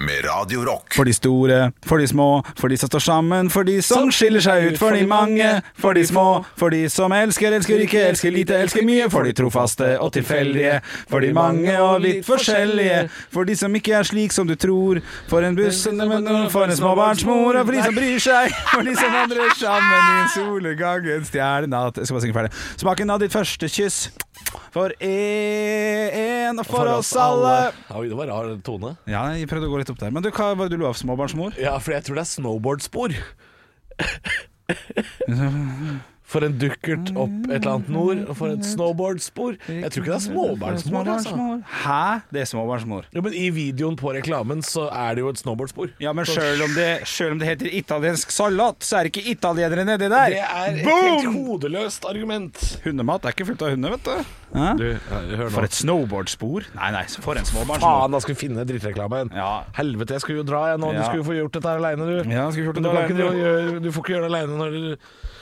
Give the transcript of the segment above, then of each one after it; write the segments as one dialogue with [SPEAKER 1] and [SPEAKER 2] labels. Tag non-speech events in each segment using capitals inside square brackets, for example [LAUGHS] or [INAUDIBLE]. [SPEAKER 1] med Radio Rock.
[SPEAKER 2] For de store, for de små, for de som står sammen, for de som skiller seg ut, for de mange, for de små, for de som elsker, elsker ikke, elsker lite, elsker mye, for de trofaste og tilfeldige, for de mange og litt forskjellige, for de som ikke er slik som du tror, for en buss, for en småbarnsmor, og for de som bryr seg, [LAUGHS] for de som vandrer sammen i en solgang, en stjernenatt Jeg skal bare synge ferdig. Smaken av ditt første kyss, for en og for oss alle.
[SPEAKER 3] Oi, det var rar tone.
[SPEAKER 2] Ja, jeg prøvde å gå litt opp der. Men du, hva var det du lo av, småbarnsmor?
[SPEAKER 3] Ja, for jeg tror det er snowboardspor. [LAUGHS] For en dukkert opp et eller annet nord, og for et snowboardspor. Jeg tror ikke det er småbarnsmor, altså.
[SPEAKER 2] Hæ? Det er småbarnsmor.
[SPEAKER 3] Jo, men I videoen på reklamen så er det jo et snowboardspor.
[SPEAKER 2] Ja, men sjøl om, det- selv om det heter italiensk salat, så er det ikke italienere nedi der.
[SPEAKER 3] Det er et helt
[SPEAKER 2] Boom!
[SPEAKER 3] hodeløst argument.
[SPEAKER 2] Hundemat er ikke fullt av hunder, vet du. Hæ?
[SPEAKER 3] eh,
[SPEAKER 2] For et snowboardspor. Nei, nei, for en småbarnsmor.
[SPEAKER 3] Faen, da skulle vi finne drittreklamen.
[SPEAKER 2] Ja.
[SPEAKER 3] Helvete, jeg skulle jo dra jeg nå. Du
[SPEAKER 2] Ja.
[SPEAKER 3] skulle jo få gjort dette her aleine, du.
[SPEAKER 2] Ja, skulle gjort det
[SPEAKER 3] Men du, kan ikke
[SPEAKER 2] alene.
[SPEAKER 3] drive og gjøre- du får ikke gjøre det aleine når du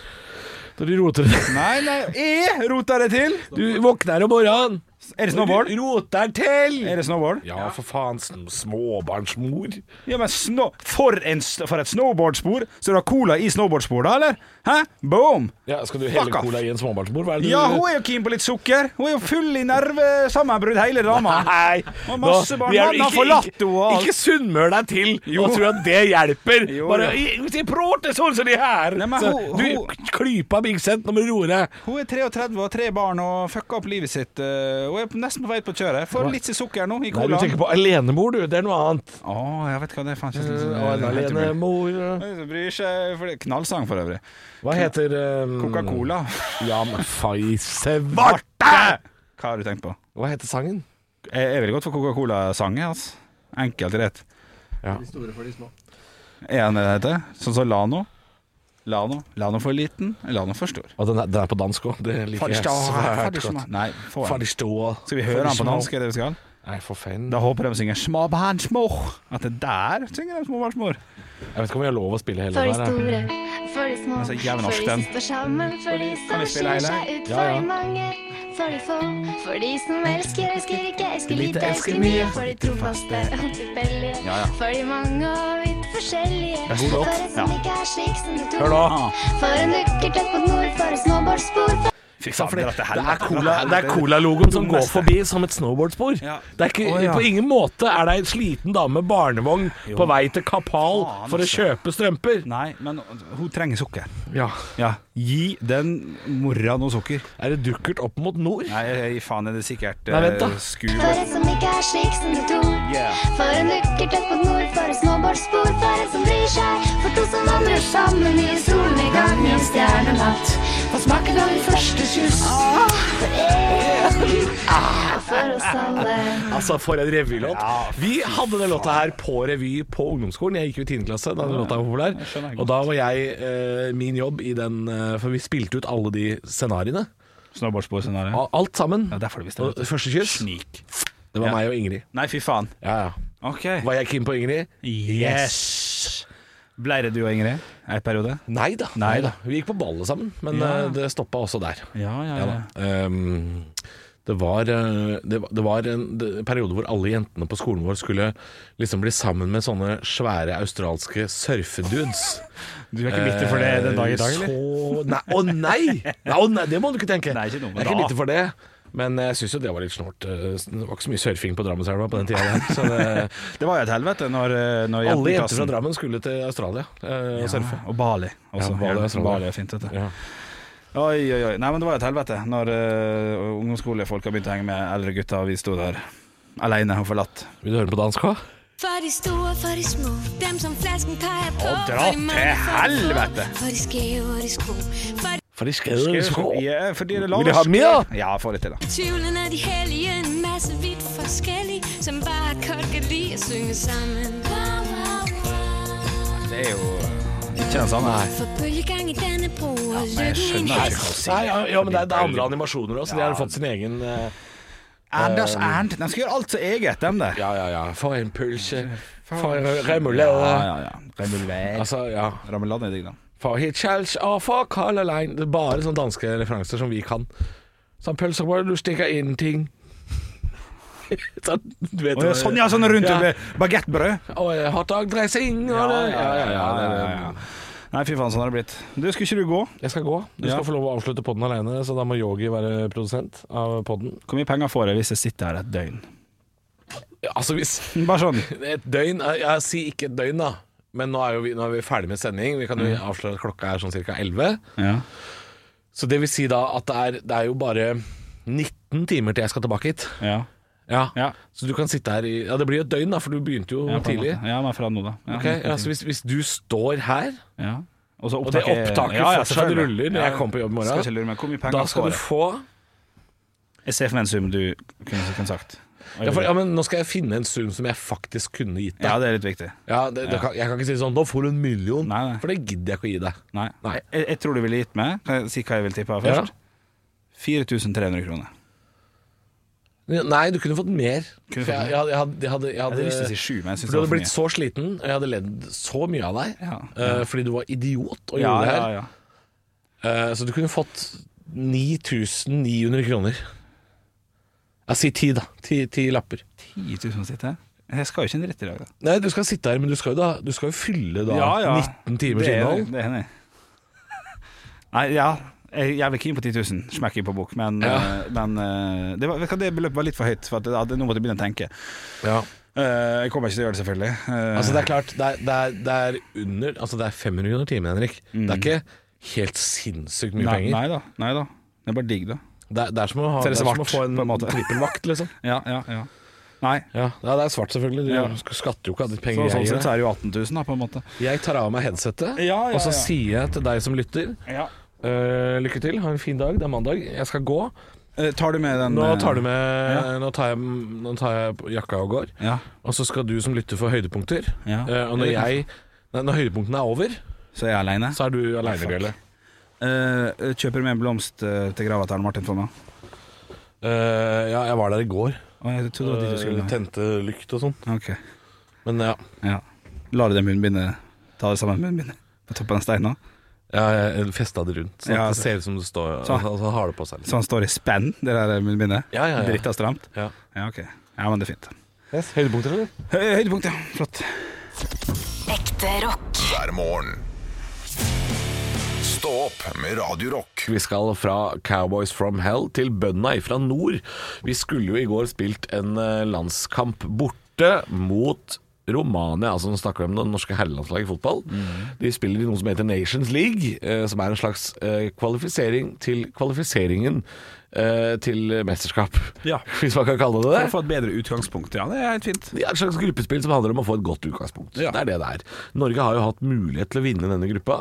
[SPEAKER 3] når du roter det
[SPEAKER 2] Nei, nei, jeg rota det til.
[SPEAKER 3] Du våkner om morgenen,
[SPEAKER 2] Er det
[SPEAKER 3] og
[SPEAKER 2] snowboard?
[SPEAKER 3] du roter til!
[SPEAKER 2] Er det snowboard?
[SPEAKER 3] Ja, for faen. sn- Småbarnsmor.
[SPEAKER 2] Ja, men sno for, en, s- for et snowboardspor! Så du har cola i snowboardspor, da, eller? Hæ? Boom!
[SPEAKER 3] Ja, skal du
[SPEAKER 2] Fuck
[SPEAKER 3] helle
[SPEAKER 2] off.
[SPEAKER 3] cola i en småbarnsmor? Hva er det du
[SPEAKER 2] Ja, hun er jo keen på litt sukker. Hun er jo full i nervesammenbrudd, hele dama.
[SPEAKER 3] [LAUGHS] Nei!
[SPEAKER 2] Og masse
[SPEAKER 3] nå-
[SPEAKER 2] barn.
[SPEAKER 3] vi er jo
[SPEAKER 2] Mannen har forlatt henne og alt.
[SPEAKER 3] Ikke sunnmør deg til
[SPEAKER 2] Jo.
[SPEAKER 3] og tro at det hjelper.
[SPEAKER 2] Jo,
[SPEAKER 3] Bare
[SPEAKER 2] ja.
[SPEAKER 3] i- Hvis jeg prater sånn som de her
[SPEAKER 2] Nei, men
[SPEAKER 3] så,
[SPEAKER 2] hun- hun-
[SPEAKER 3] Du klypa Big Sent, nå må du roe deg.
[SPEAKER 2] Hun er 33 og har tre barn og fucka opp livet sitt. eh, Hun er nesten på vei på kjøret. Får litt sukker nå i
[SPEAKER 3] Nei, du
[SPEAKER 2] colaen.
[SPEAKER 3] tenker på alenemor, du. Det er noe annet.
[SPEAKER 2] Å, jeg vet hva det er. Faen, kjennes litt
[SPEAKER 3] Og en
[SPEAKER 2] sånn- helt umulig.
[SPEAKER 3] alenemor eh,
[SPEAKER 2] Det er ingen som Bryr seg for det. Knallsang, for øvrig.
[SPEAKER 3] Hva heter um,
[SPEAKER 2] Coca-Cola.
[SPEAKER 3] Ja, men fai svarte!
[SPEAKER 2] Hva har du tenkt på?
[SPEAKER 3] Hva heter sangen?
[SPEAKER 2] Jeg jeg er veldig godt for Coca-Cola-sang. jeg, Altså. Enkelt rett.
[SPEAKER 3] Ja.
[SPEAKER 2] De store for de små. Er han det det heter? Sånn som Lano? Lano Lano for liten, Lano for stor.
[SPEAKER 3] Og den, er, den er på dansk òg. Det liker jeg svært godt.
[SPEAKER 2] Nei, få han.
[SPEAKER 3] Farstå.
[SPEAKER 2] Skal vi høre han på dansk? Er det vi skal?
[SPEAKER 3] Nei, for faen.
[SPEAKER 2] Da håper jeg de synger 'Småbarnsmor'. At det der synger de 'Småbarnsmor'.
[SPEAKER 3] Jeg vet ikke om vi har lov å spille hele
[SPEAKER 4] For de
[SPEAKER 3] den her. jeg.
[SPEAKER 4] store, for de små,
[SPEAKER 2] Den er så jævlig norsk,
[SPEAKER 4] for de
[SPEAKER 2] den.
[SPEAKER 4] som står sammen, for de
[SPEAKER 2] Kan
[SPEAKER 4] som
[SPEAKER 2] vi spille
[SPEAKER 4] skiller
[SPEAKER 2] hele?
[SPEAKER 4] seg ut,
[SPEAKER 3] Ja,
[SPEAKER 4] for
[SPEAKER 3] ja.
[SPEAKER 4] de mange, for de få, for de som elsker, elsker ikke, elsker lite, elsker mye, for de trofaste og tilfeldige,
[SPEAKER 2] Ja, ja.
[SPEAKER 4] for de mange og vidt forskjellige,
[SPEAKER 2] er god
[SPEAKER 4] for
[SPEAKER 2] låt.
[SPEAKER 4] en som
[SPEAKER 2] Ja.
[SPEAKER 4] ikke er slik som du
[SPEAKER 3] Hør
[SPEAKER 4] tror,
[SPEAKER 3] nå.
[SPEAKER 4] for en uker tett mot nord, for et snowboardspor, for
[SPEAKER 2] Fy
[SPEAKER 3] Ja, for det,
[SPEAKER 2] dette
[SPEAKER 3] det er
[SPEAKER 2] helvete.
[SPEAKER 3] cola- det er Cola-logoen som går
[SPEAKER 2] Dummeste.
[SPEAKER 3] forbi som et snowboardspor.
[SPEAKER 2] Ja.
[SPEAKER 3] Det er ikke,
[SPEAKER 2] Å, ja.
[SPEAKER 3] På ingen måte er det ei sliten dame med barnevogn på vei til Kapal
[SPEAKER 2] Faen,
[SPEAKER 3] for å kjøpe strømper.
[SPEAKER 2] Nei, men hun trenger sukker.
[SPEAKER 3] Ja.
[SPEAKER 2] Ja. Gi den mora noe sukker.
[SPEAKER 3] Er det dukkert opp mot nord?
[SPEAKER 2] Nei, jeg- jeg- faen er det sikkert
[SPEAKER 3] Nei, vent da.
[SPEAKER 2] eh,
[SPEAKER 4] for
[SPEAKER 2] skue.
[SPEAKER 4] en som ikke er slik som du tror,
[SPEAKER 2] Yeah.
[SPEAKER 4] for en uker tett mot nord, for et snowboardspor, for en som bryr seg, for to som vandrer sammen i en solnedgang, i en stjernenatt, for smaken av din første kyss. Ah, for oss alle.
[SPEAKER 3] Altså, for en revylåt. Vi hadde den låta her på revy på ungdomsskolen. Jeg gikk jo i 10. klasse da den låta var populær.
[SPEAKER 2] skjønner jeg godt.
[SPEAKER 3] Og da var jeg eh, min jobb i den eh, For vi spilte ut alle de scenarioene.
[SPEAKER 2] Snowboardsporscenario.
[SPEAKER 3] A- Alt sammen.
[SPEAKER 2] Ja, derfor det visste
[SPEAKER 3] Og
[SPEAKER 2] jeg.
[SPEAKER 3] første kyss,
[SPEAKER 2] Snik.
[SPEAKER 3] det var
[SPEAKER 2] Ja.
[SPEAKER 3] meg og Ingrid.
[SPEAKER 2] Nei, fy faen.
[SPEAKER 3] Ja, ja.
[SPEAKER 2] OK.
[SPEAKER 3] Var jeg keen på Ingrid?
[SPEAKER 2] Yes. Blei det du og Ingrid ei periode?
[SPEAKER 3] Nei da.
[SPEAKER 2] Nei da.
[SPEAKER 3] Vi gikk på ballet sammen, men
[SPEAKER 2] Ja.
[SPEAKER 3] eh, det stoppa også der.
[SPEAKER 2] Ja, ja, ja.
[SPEAKER 3] Ehm, det var, eh, det, var- det var en det- en periode hvor alle jentene på skolen vår skulle liksom bli sammen med sånne svære australske surfedudes.
[SPEAKER 2] Du er ikke bitter for det den dag i dag,
[SPEAKER 3] Eh,
[SPEAKER 2] eller?
[SPEAKER 3] Så, nei, å nei! nei! Å nei, det må du ikke tenke.
[SPEAKER 2] Nei, ikke noe med
[SPEAKER 3] jeg er ikke
[SPEAKER 2] da.
[SPEAKER 3] bitter for det. Men eh, jeg syns jo det var litt snålt. Eh, Det var ikke så mye surfing på Drammenselva på den tida der. Så det,
[SPEAKER 2] Det var jo et helvete når, eh, når
[SPEAKER 3] alle
[SPEAKER 2] i
[SPEAKER 3] jenter
[SPEAKER 2] klassen-
[SPEAKER 3] fra Drammen skulle til Australia eh, og surfe.
[SPEAKER 2] Ja, og Bali. Også.
[SPEAKER 3] Ja, Bali er sånn, ja.
[SPEAKER 2] Bali er fint, vet du.
[SPEAKER 3] Ja.
[SPEAKER 2] Oi, oi, oi. Nei, men det var jo et helvete når eh, ungdomsskolefolk har begynt å henge med eldre gutter, og vi sto der aleine og forlatt.
[SPEAKER 3] Vil du høre på dansk òg?
[SPEAKER 5] For de store, for de små, dem som flasken peger på.
[SPEAKER 2] Å, dra
[SPEAKER 5] For de mange,
[SPEAKER 2] til
[SPEAKER 5] for de få,
[SPEAKER 2] helvete!
[SPEAKER 5] For de skæve og de skrå. For
[SPEAKER 3] For de skrev
[SPEAKER 2] Ja, fordi det er
[SPEAKER 3] Vil de ha mer?
[SPEAKER 2] Ja, få litt til, da.
[SPEAKER 5] de tvivlende, de hellige, en masse vidt forskellige, som bare kort kan lide at synge sammen.
[SPEAKER 2] Det er jo eh, ikke den samme. Nei.
[SPEAKER 5] For bølgegang i Dannebro og
[SPEAKER 2] men jeg
[SPEAKER 5] lykken i
[SPEAKER 2] skjønner ikke hva du
[SPEAKER 5] hast.
[SPEAKER 3] Nei, ja, ja, men det er, det er andre animasjoner også. De har fått sin egen eh,
[SPEAKER 2] Anders Arnt. De skal gjøre alt så eget, dem der.
[SPEAKER 3] Ja, ja, ja. For en pølse. For en remulle.
[SPEAKER 2] Ja, ja, ja. Remulver.
[SPEAKER 3] Altså, ja.
[SPEAKER 2] Rammelad er digg, da.
[SPEAKER 3] For Hitchhals og for Color Line. Det er bare sånne danske referanser som vi kan. Sånn pølser hvor du stikker inn ting. [LAUGHS] sånn, du vet
[SPEAKER 2] Å, ja,
[SPEAKER 3] hva-
[SPEAKER 2] sånn, ja, sånn rundt
[SPEAKER 3] Ja.
[SPEAKER 2] ja. bagettbrød.
[SPEAKER 3] Og eh, hotdog-dressing og det. det-
[SPEAKER 2] Nei, fy faen, sånn har det blitt. Du, skulle ikke du gå?
[SPEAKER 3] Jeg skal gå. Du
[SPEAKER 2] Ja.
[SPEAKER 3] skal få lov å avslutte podden alene, så da må Yogi være produsent av podden.
[SPEAKER 2] Hvor mye penger får jeg hvis jeg sitter her et døgn?
[SPEAKER 3] Ja, Altså, hvis
[SPEAKER 2] Bare sånn.
[SPEAKER 3] Et døgn eh, Jeg sier ikke et døgn, da. Men nå er, jo vi, nå er vi ferdig med sending. Vi kan jo avsløre at klokka er sånn ca. 11.
[SPEAKER 2] Ja.
[SPEAKER 3] Så det vil si da at det er, det er jo bare 19 timer til jeg skal tilbake hit.
[SPEAKER 2] Ja.
[SPEAKER 3] Ja.
[SPEAKER 2] Ja.
[SPEAKER 3] Så du kan sitte her i Ja, det blir jo et døgn, da, for du begynte jo
[SPEAKER 2] Ja, på en
[SPEAKER 3] tidlig.
[SPEAKER 2] måte. Ja, men fra nå, da. Ja,
[SPEAKER 3] Ok, ja, så hvis, hvis du står her,
[SPEAKER 2] ja. Og så
[SPEAKER 3] og det opptaket
[SPEAKER 2] Ja, ja,
[SPEAKER 3] fortsatt
[SPEAKER 2] selvfølgelig.
[SPEAKER 3] ruller når
[SPEAKER 2] Ja.
[SPEAKER 3] jeg kommer på jobb i
[SPEAKER 2] Skal ikke
[SPEAKER 3] morgen,
[SPEAKER 2] lure meg. Hvor mye
[SPEAKER 3] da
[SPEAKER 2] penger
[SPEAKER 3] skal
[SPEAKER 2] får
[SPEAKER 3] du
[SPEAKER 2] jeg?
[SPEAKER 3] få
[SPEAKER 2] Jeg ser for meg en sum du kunne, kunne sagt.
[SPEAKER 3] ja, for, ja, men nå skal jeg finne en sum som jeg faktisk kunne gitt
[SPEAKER 2] Ja,
[SPEAKER 3] deg.
[SPEAKER 2] det er litt viktig.
[SPEAKER 3] Ja, det, det kan, jeg kan ikke si sånn 'nå får du en million',
[SPEAKER 2] Nei, nei.
[SPEAKER 3] for det gidder jeg ikke å gi deg.
[SPEAKER 2] Nei.
[SPEAKER 3] Nei.
[SPEAKER 2] Jeg, jeg tror du ville gitt meg Kan jeg si hva jeg vil tippe
[SPEAKER 3] Ja.
[SPEAKER 2] først? 4300 kroner.
[SPEAKER 3] Nei, du kunne fått mer.
[SPEAKER 2] Kunne
[SPEAKER 3] For
[SPEAKER 2] fått mer.
[SPEAKER 3] jeg, jeg, hadde- jeg hadde, jeg hadde, jeg
[SPEAKER 2] Jeg
[SPEAKER 3] hadde
[SPEAKER 2] hadde lyst til å si sju, men jeg
[SPEAKER 3] For
[SPEAKER 2] syns
[SPEAKER 3] du
[SPEAKER 2] det
[SPEAKER 3] hadde
[SPEAKER 2] var for
[SPEAKER 3] blitt
[SPEAKER 2] mye.
[SPEAKER 3] så sliten, og jeg hadde ledd så mye av deg.
[SPEAKER 2] Ja.
[SPEAKER 3] eh, fordi du var idiot og gjorde
[SPEAKER 2] Ja,
[SPEAKER 3] det
[SPEAKER 2] ja,
[SPEAKER 3] her.
[SPEAKER 2] ja.
[SPEAKER 3] Eh, så du kunne fått 9900 kroner. Ja, si ti, da. Ti, ti lapper.
[SPEAKER 2] 10 000 sitter her. Jeg skal jo ikke en dritt i dag, da.
[SPEAKER 3] Nei, du skal sitte her, men du skal jo, da, du skal jo fylle da 19 timers
[SPEAKER 2] det er,
[SPEAKER 3] innhold.
[SPEAKER 2] Det er enig. Nei, ja. Jeg jeg er vel keen på 10 000, smekk i på bok, men,
[SPEAKER 3] Ja.
[SPEAKER 2] eh, men eh, det, var, vet du hva, det beløpet var litt for høyt. For at, jeg hadde- nå måtte jeg begynne å tenke.
[SPEAKER 3] Ja.
[SPEAKER 2] Eh, jeg kommer ikke til å gjøre det, selvfølgelig. Eh,
[SPEAKER 3] Altså, det er klart, det er, det er, det er under Altså, det er 500 kroner timen, Henrik. Det er ikke helt sinnssykt
[SPEAKER 2] Mm.
[SPEAKER 3] mye
[SPEAKER 2] nei,
[SPEAKER 3] penger.
[SPEAKER 2] Nei da. Nei da. Det er bare digg, da.
[SPEAKER 3] Det, er, det er som å ha
[SPEAKER 2] Så er
[SPEAKER 3] det
[SPEAKER 2] det
[SPEAKER 3] er som å
[SPEAKER 2] svart,
[SPEAKER 3] få en,
[SPEAKER 2] på en måte.
[SPEAKER 3] trippelvakt, liksom.
[SPEAKER 2] [LAUGHS] Ja, ja, ja. Nei.
[SPEAKER 3] Ja, ja, det er svart selvfølgelig. Du
[SPEAKER 2] Ja.
[SPEAKER 3] skatter jo ikke av de
[SPEAKER 2] Så,
[SPEAKER 3] penger
[SPEAKER 2] sånn
[SPEAKER 3] jeg
[SPEAKER 2] sett
[SPEAKER 3] gir.
[SPEAKER 2] så
[SPEAKER 3] deg.
[SPEAKER 2] er det jo 18 000, da, på en måte.
[SPEAKER 3] Jeg tar av meg headsetet,
[SPEAKER 2] Ja, ja,
[SPEAKER 3] og
[SPEAKER 2] ja.
[SPEAKER 3] så sier jeg til deg som lytter
[SPEAKER 2] Ja.
[SPEAKER 3] eh, lykke til, ha en fin dag, det er mandag, jeg skal gå.
[SPEAKER 2] Eh, tar du med den
[SPEAKER 3] Nå
[SPEAKER 2] eh,
[SPEAKER 3] tar, du med, nå tar, jeg, nå tar jeg på jakka og går,
[SPEAKER 2] Ja.
[SPEAKER 3] og så skal du som lytter få høydepunkter.
[SPEAKER 2] Ja.
[SPEAKER 3] Eh, og når, jeg, nei, når høydepunktene er over,
[SPEAKER 2] Så er jeg aleine.
[SPEAKER 3] så er du aleine, Bjelle.
[SPEAKER 2] kjøper du med en blomst eh, til grava til Arne Martin for meg?
[SPEAKER 3] Eh, ja, jeg var der i går.
[SPEAKER 2] Å, jeg trodde det var dit du
[SPEAKER 3] Eh,
[SPEAKER 2] skulle.
[SPEAKER 3] Tente lykt og sånn.
[SPEAKER 2] Ok.
[SPEAKER 3] Men ja,
[SPEAKER 2] Ja. La du det munnbindet Ta det sammen med munnbindet på toppen av steinen?
[SPEAKER 3] ja jeg festa det rundt. Sånn
[SPEAKER 2] Ja,
[SPEAKER 3] at det ser ut som det står
[SPEAKER 2] Sånn.
[SPEAKER 3] altså, altså, har det på seg. Liksom.
[SPEAKER 2] Så han Sånn står i spenn, det der eh, munnbindet?
[SPEAKER 3] Ja, ja, ja.
[SPEAKER 2] Dritta stramt?
[SPEAKER 3] Ja.
[SPEAKER 2] Ja, ok. Ja, men det er fint.
[SPEAKER 3] Yes, høydepunkter, eller?
[SPEAKER 2] Hø- Høydepunkt, ja. Flott.
[SPEAKER 6] Ekte rock.
[SPEAKER 1] hver morgen. Stå opp med Radio Rock.
[SPEAKER 3] Vi skal fra Cowboys from Hell til bøndene fra nord. Vi skulle jo i går spilt en eh, landskamp borte mot Romania, altså nå snakker vi om det norske herrelandslaget i fotball. De spiller i noe som heter Nations League, eh, som er en slags eh, kvalifisering til kvalifiseringen eh, til mesterskap.
[SPEAKER 2] Ja.
[SPEAKER 3] [LAUGHS] Hvis man kan kalle det det.
[SPEAKER 2] For å få et bedre utgangspunkt, ja. Det er helt fint.
[SPEAKER 3] Ja, et slags gruppespill som handler om å få et godt utgangspunkt. Det er det det er. Norge har jo hatt mulighet til å vinne denne gruppa,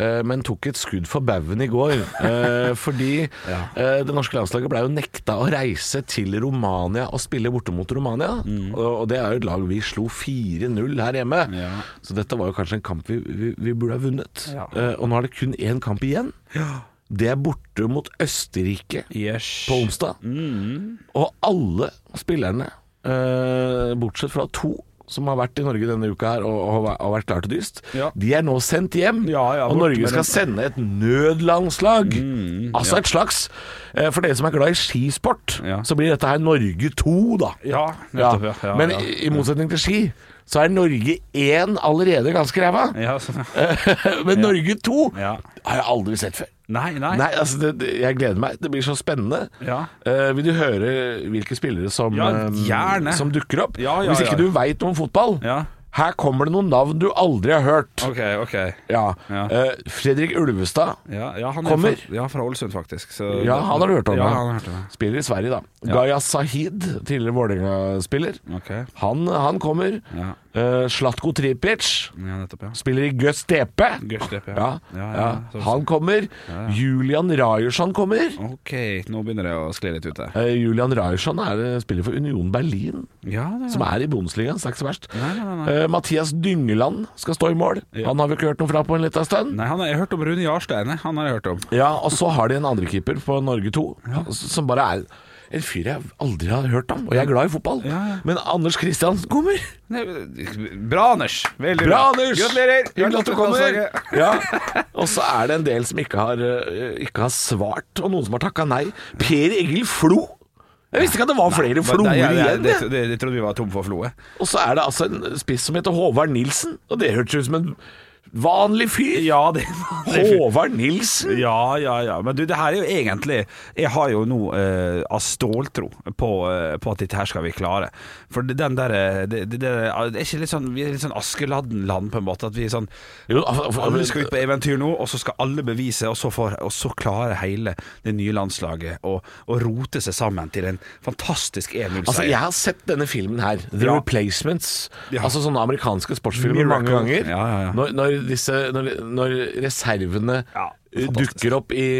[SPEAKER 3] eh, men tok et skudd for baugen i går. eh, fordi eh, det norske landslaget ble jo nekta å reise til Romania og spille borte mot Romania. Og, og det er jo et lag vi slo 4-0 her hjemme.
[SPEAKER 2] Ja.
[SPEAKER 3] Så dette var jo kanskje en kamp vi, vi, vi burde ha vunnet. Eh, og nå er det kun én kamp igjen. Det er borte mot Østerrike
[SPEAKER 2] Yes.
[SPEAKER 3] på onsdag. Og alle spillerne, eh, bortsett fra to som har vært i Norge denne uka her og, og har- har vært klar til dyst,
[SPEAKER 2] Ja.
[SPEAKER 3] de er nå sendt hjem.
[SPEAKER 2] Ja, ja,
[SPEAKER 3] og
[SPEAKER 2] bort
[SPEAKER 3] Norge
[SPEAKER 2] med
[SPEAKER 3] skal
[SPEAKER 2] dem. Mm,
[SPEAKER 3] sende et nødlandslag. altså et slags eh, For dere som er glad i skisport,
[SPEAKER 2] Ja.
[SPEAKER 3] så blir dette her Norge 2, da.
[SPEAKER 2] Ja, nettopp, ja. ja,
[SPEAKER 3] Men
[SPEAKER 2] ja.
[SPEAKER 3] i, i motsetning til ski, så er Norge 1 allerede ganske ræva.
[SPEAKER 2] ja, sånn, ja.
[SPEAKER 3] [LAUGHS] Men Norge 2
[SPEAKER 2] Ja.
[SPEAKER 3] har jeg aldri sett før.
[SPEAKER 2] Nei, nei.
[SPEAKER 3] Nei, altså det, det, Jeg gleder meg. Det blir så spennende.
[SPEAKER 2] Ja.
[SPEAKER 3] Eh, vil du høre hvilke spillere som,
[SPEAKER 2] Ja,
[SPEAKER 3] eh,
[SPEAKER 2] gjerne.
[SPEAKER 3] som dukker opp?
[SPEAKER 2] Ja, ja,
[SPEAKER 3] Hvis ikke
[SPEAKER 2] ja.
[SPEAKER 3] du veit noe om fotball,
[SPEAKER 2] Ja.
[SPEAKER 3] her kommer det noen navn du aldri har hørt.
[SPEAKER 2] OK, OK.
[SPEAKER 3] Ja.
[SPEAKER 2] Ja.
[SPEAKER 3] Eh, Fredrik Ulvestad.
[SPEAKER 2] Ja, ja, han
[SPEAKER 3] Kommer.
[SPEAKER 2] Fra, ja, fra Ålesund, faktisk. Så,
[SPEAKER 3] Ja, han har du hørt om.
[SPEAKER 2] Ja,
[SPEAKER 3] da.
[SPEAKER 2] han har hørt om det.
[SPEAKER 3] Spiller i Sverige, da. Gaya Sahid, tidligere Vålerenga-spiller.
[SPEAKER 2] OK.
[SPEAKER 3] Han, han kommer.
[SPEAKER 2] Ja.
[SPEAKER 3] Eh, Slatko Tripic.
[SPEAKER 2] Ja, nettopp, ja.
[SPEAKER 3] Spiller i Gøstepe.
[SPEAKER 2] Gøstepe,
[SPEAKER 3] ja.
[SPEAKER 2] ja.
[SPEAKER 3] Ja,
[SPEAKER 2] Ja, ja, så-
[SPEAKER 3] Han kommer. Julian Rajursson kommer.
[SPEAKER 2] OK, nå begynner det å skli litt ut der.
[SPEAKER 3] Eh, Julian Rajursson er eh, spiller for Union Berlin,
[SPEAKER 2] Ja, det
[SPEAKER 3] som er i Bundesligaen, så det er ikke så verst.
[SPEAKER 2] Nei, nei, nei,
[SPEAKER 3] Eh, Mathias Dyngeland skal stå i mål. Han har vi ikke hørt noe fra på en liten stund.
[SPEAKER 2] Nei, han har, jeg har hørt om Rune Jarsteine. Han har jeg hørt om.
[SPEAKER 3] Ja, og så har de en andrekeeper på Norge 2, som bare er en fyr jeg aldri har hørt om, og jeg er glad i fotball. Men Anders Kristiansen kommer!
[SPEAKER 2] Nei, Bra, Anders. Veldig
[SPEAKER 3] Bra, Anders!
[SPEAKER 2] Gratulerer.
[SPEAKER 3] Hyggelig at du kommer!
[SPEAKER 2] Landslaget.
[SPEAKER 3] Ja. Og så er det en del som ikke har, eh, ikke har svart, og noen som har takka nei. Per Egil Flo! Jeg visste ikke at det var flere floer
[SPEAKER 2] Nei, jeg- jeg-
[SPEAKER 3] igjen.
[SPEAKER 2] Det,
[SPEAKER 3] jeg.
[SPEAKER 2] det, det trodde vi var tom for floe.
[SPEAKER 3] Og så er det altså en spiss som heter Håvard Nilsen, og det hørtes ut som en vanlig fyr.
[SPEAKER 2] Ja, det
[SPEAKER 3] Håvard Nilsen?
[SPEAKER 2] Ja, ja, ja. Men du, det her er jo egentlig Jeg har jo nå eh, av ståltro på, eh, på at dette her skal vi klare. For det- den derre det, det, det, det er ikke litt sånn Vi er litt sånn Askeladden-land, på en måte. At vi er sånn
[SPEAKER 3] Jo, altså, al- al-
[SPEAKER 2] Alle skal ut på eventyr nå, og så skal alle bevise, og så, får, og så klarer hele det nye landslaget å, å rote seg sammen til en fantastisk
[SPEAKER 3] Altså,
[SPEAKER 2] 1-0-seier.
[SPEAKER 3] jeg har sett denne filmen her, The
[SPEAKER 2] Ja.
[SPEAKER 3] Replacements.
[SPEAKER 2] Ja.
[SPEAKER 3] Altså sånne amerikanske sportsfilmer
[SPEAKER 2] Miracle.
[SPEAKER 3] mange ganger.
[SPEAKER 2] Ja, ja, ja.
[SPEAKER 3] Når, når, disse, når, når reservene
[SPEAKER 2] Ja,
[SPEAKER 3] eh,
[SPEAKER 2] fantastisk.
[SPEAKER 3] dukker opp i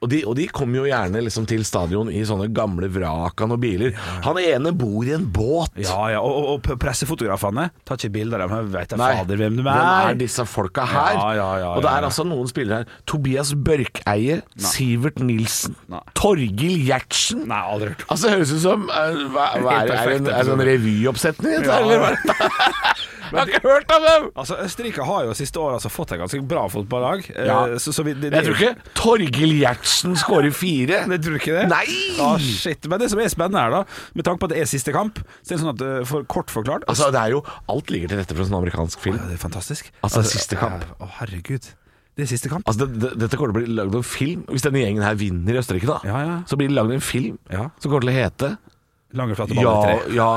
[SPEAKER 3] og de, og de kommer jo gjerne liksom til stadion i sånne gamle vrak av noen biler. Han ene bor i en båt.
[SPEAKER 2] Ja, ja, og, og, og pressefotografene tar ikke bilder av dem, men veit da
[SPEAKER 3] Nei,
[SPEAKER 2] fader hvem de er.
[SPEAKER 3] Hvem er disse folka her?
[SPEAKER 2] Ja, ja, ja,
[SPEAKER 3] og det
[SPEAKER 2] ja,
[SPEAKER 3] er
[SPEAKER 2] ja.
[SPEAKER 3] altså noen spillere her. Tobias Børkeie, Sivert Nilsen,
[SPEAKER 2] Nei.
[SPEAKER 3] Torgil Gjertsen.
[SPEAKER 2] Nei, aldri hørt om.
[SPEAKER 3] Altså, det høres ut som eh, hva, hva er,
[SPEAKER 2] Helt
[SPEAKER 3] er,
[SPEAKER 2] perfekt
[SPEAKER 3] en, er det en
[SPEAKER 2] episode.
[SPEAKER 3] revyoppsetning? dette,
[SPEAKER 2] altså. Ja.
[SPEAKER 3] eller hva er dette? Jeg har ikke hørt om dem!
[SPEAKER 2] Altså, Østerrike har jo siste året altså, fått et ganske bra fotballag. eh,
[SPEAKER 3] Ja.
[SPEAKER 2] så, så vi, det,
[SPEAKER 3] Jeg tror
[SPEAKER 2] [LAUGHS]
[SPEAKER 3] ikke Torgil Gjertsen skårer fire.
[SPEAKER 2] det tror du ikke det?
[SPEAKER 3] Nei!
[SPEAKER 2] Ah, shit. Men det som er spennende her, da, med tanke på at det er siste kamp så er det sånn at, eh, For kort forklart
[SPEAKER 3] Altså, det er jo Alt ligger til rette for en sånn amerikansk
[SPEAKER 2] Ja,
[SPEAKER 3] film.
[SPEAKER 2] det er fantastisk.
[SPEAKER 3] Altså, siste kamp.
[SPEAKER 2] eh, Å, herregud. Det er siste kamp.
[SPEAKER 3] Altså, det, det, dette kommer til å bli lagd en film. Hvis denne gjengen her vinner i Østerrike, da,
[SPEAKER 2] Ja, ja.
[SPEAKER 3] så blir det lagd en film
[SPEAKER 2] Ja.
[SPEAKER 3] som kommer til å hete
[SPEAKER 2] Langerflate ball i
[SPEAKER 3] Ja,
[SPEAKER 2] tre.
[SPEAKER 3] ja,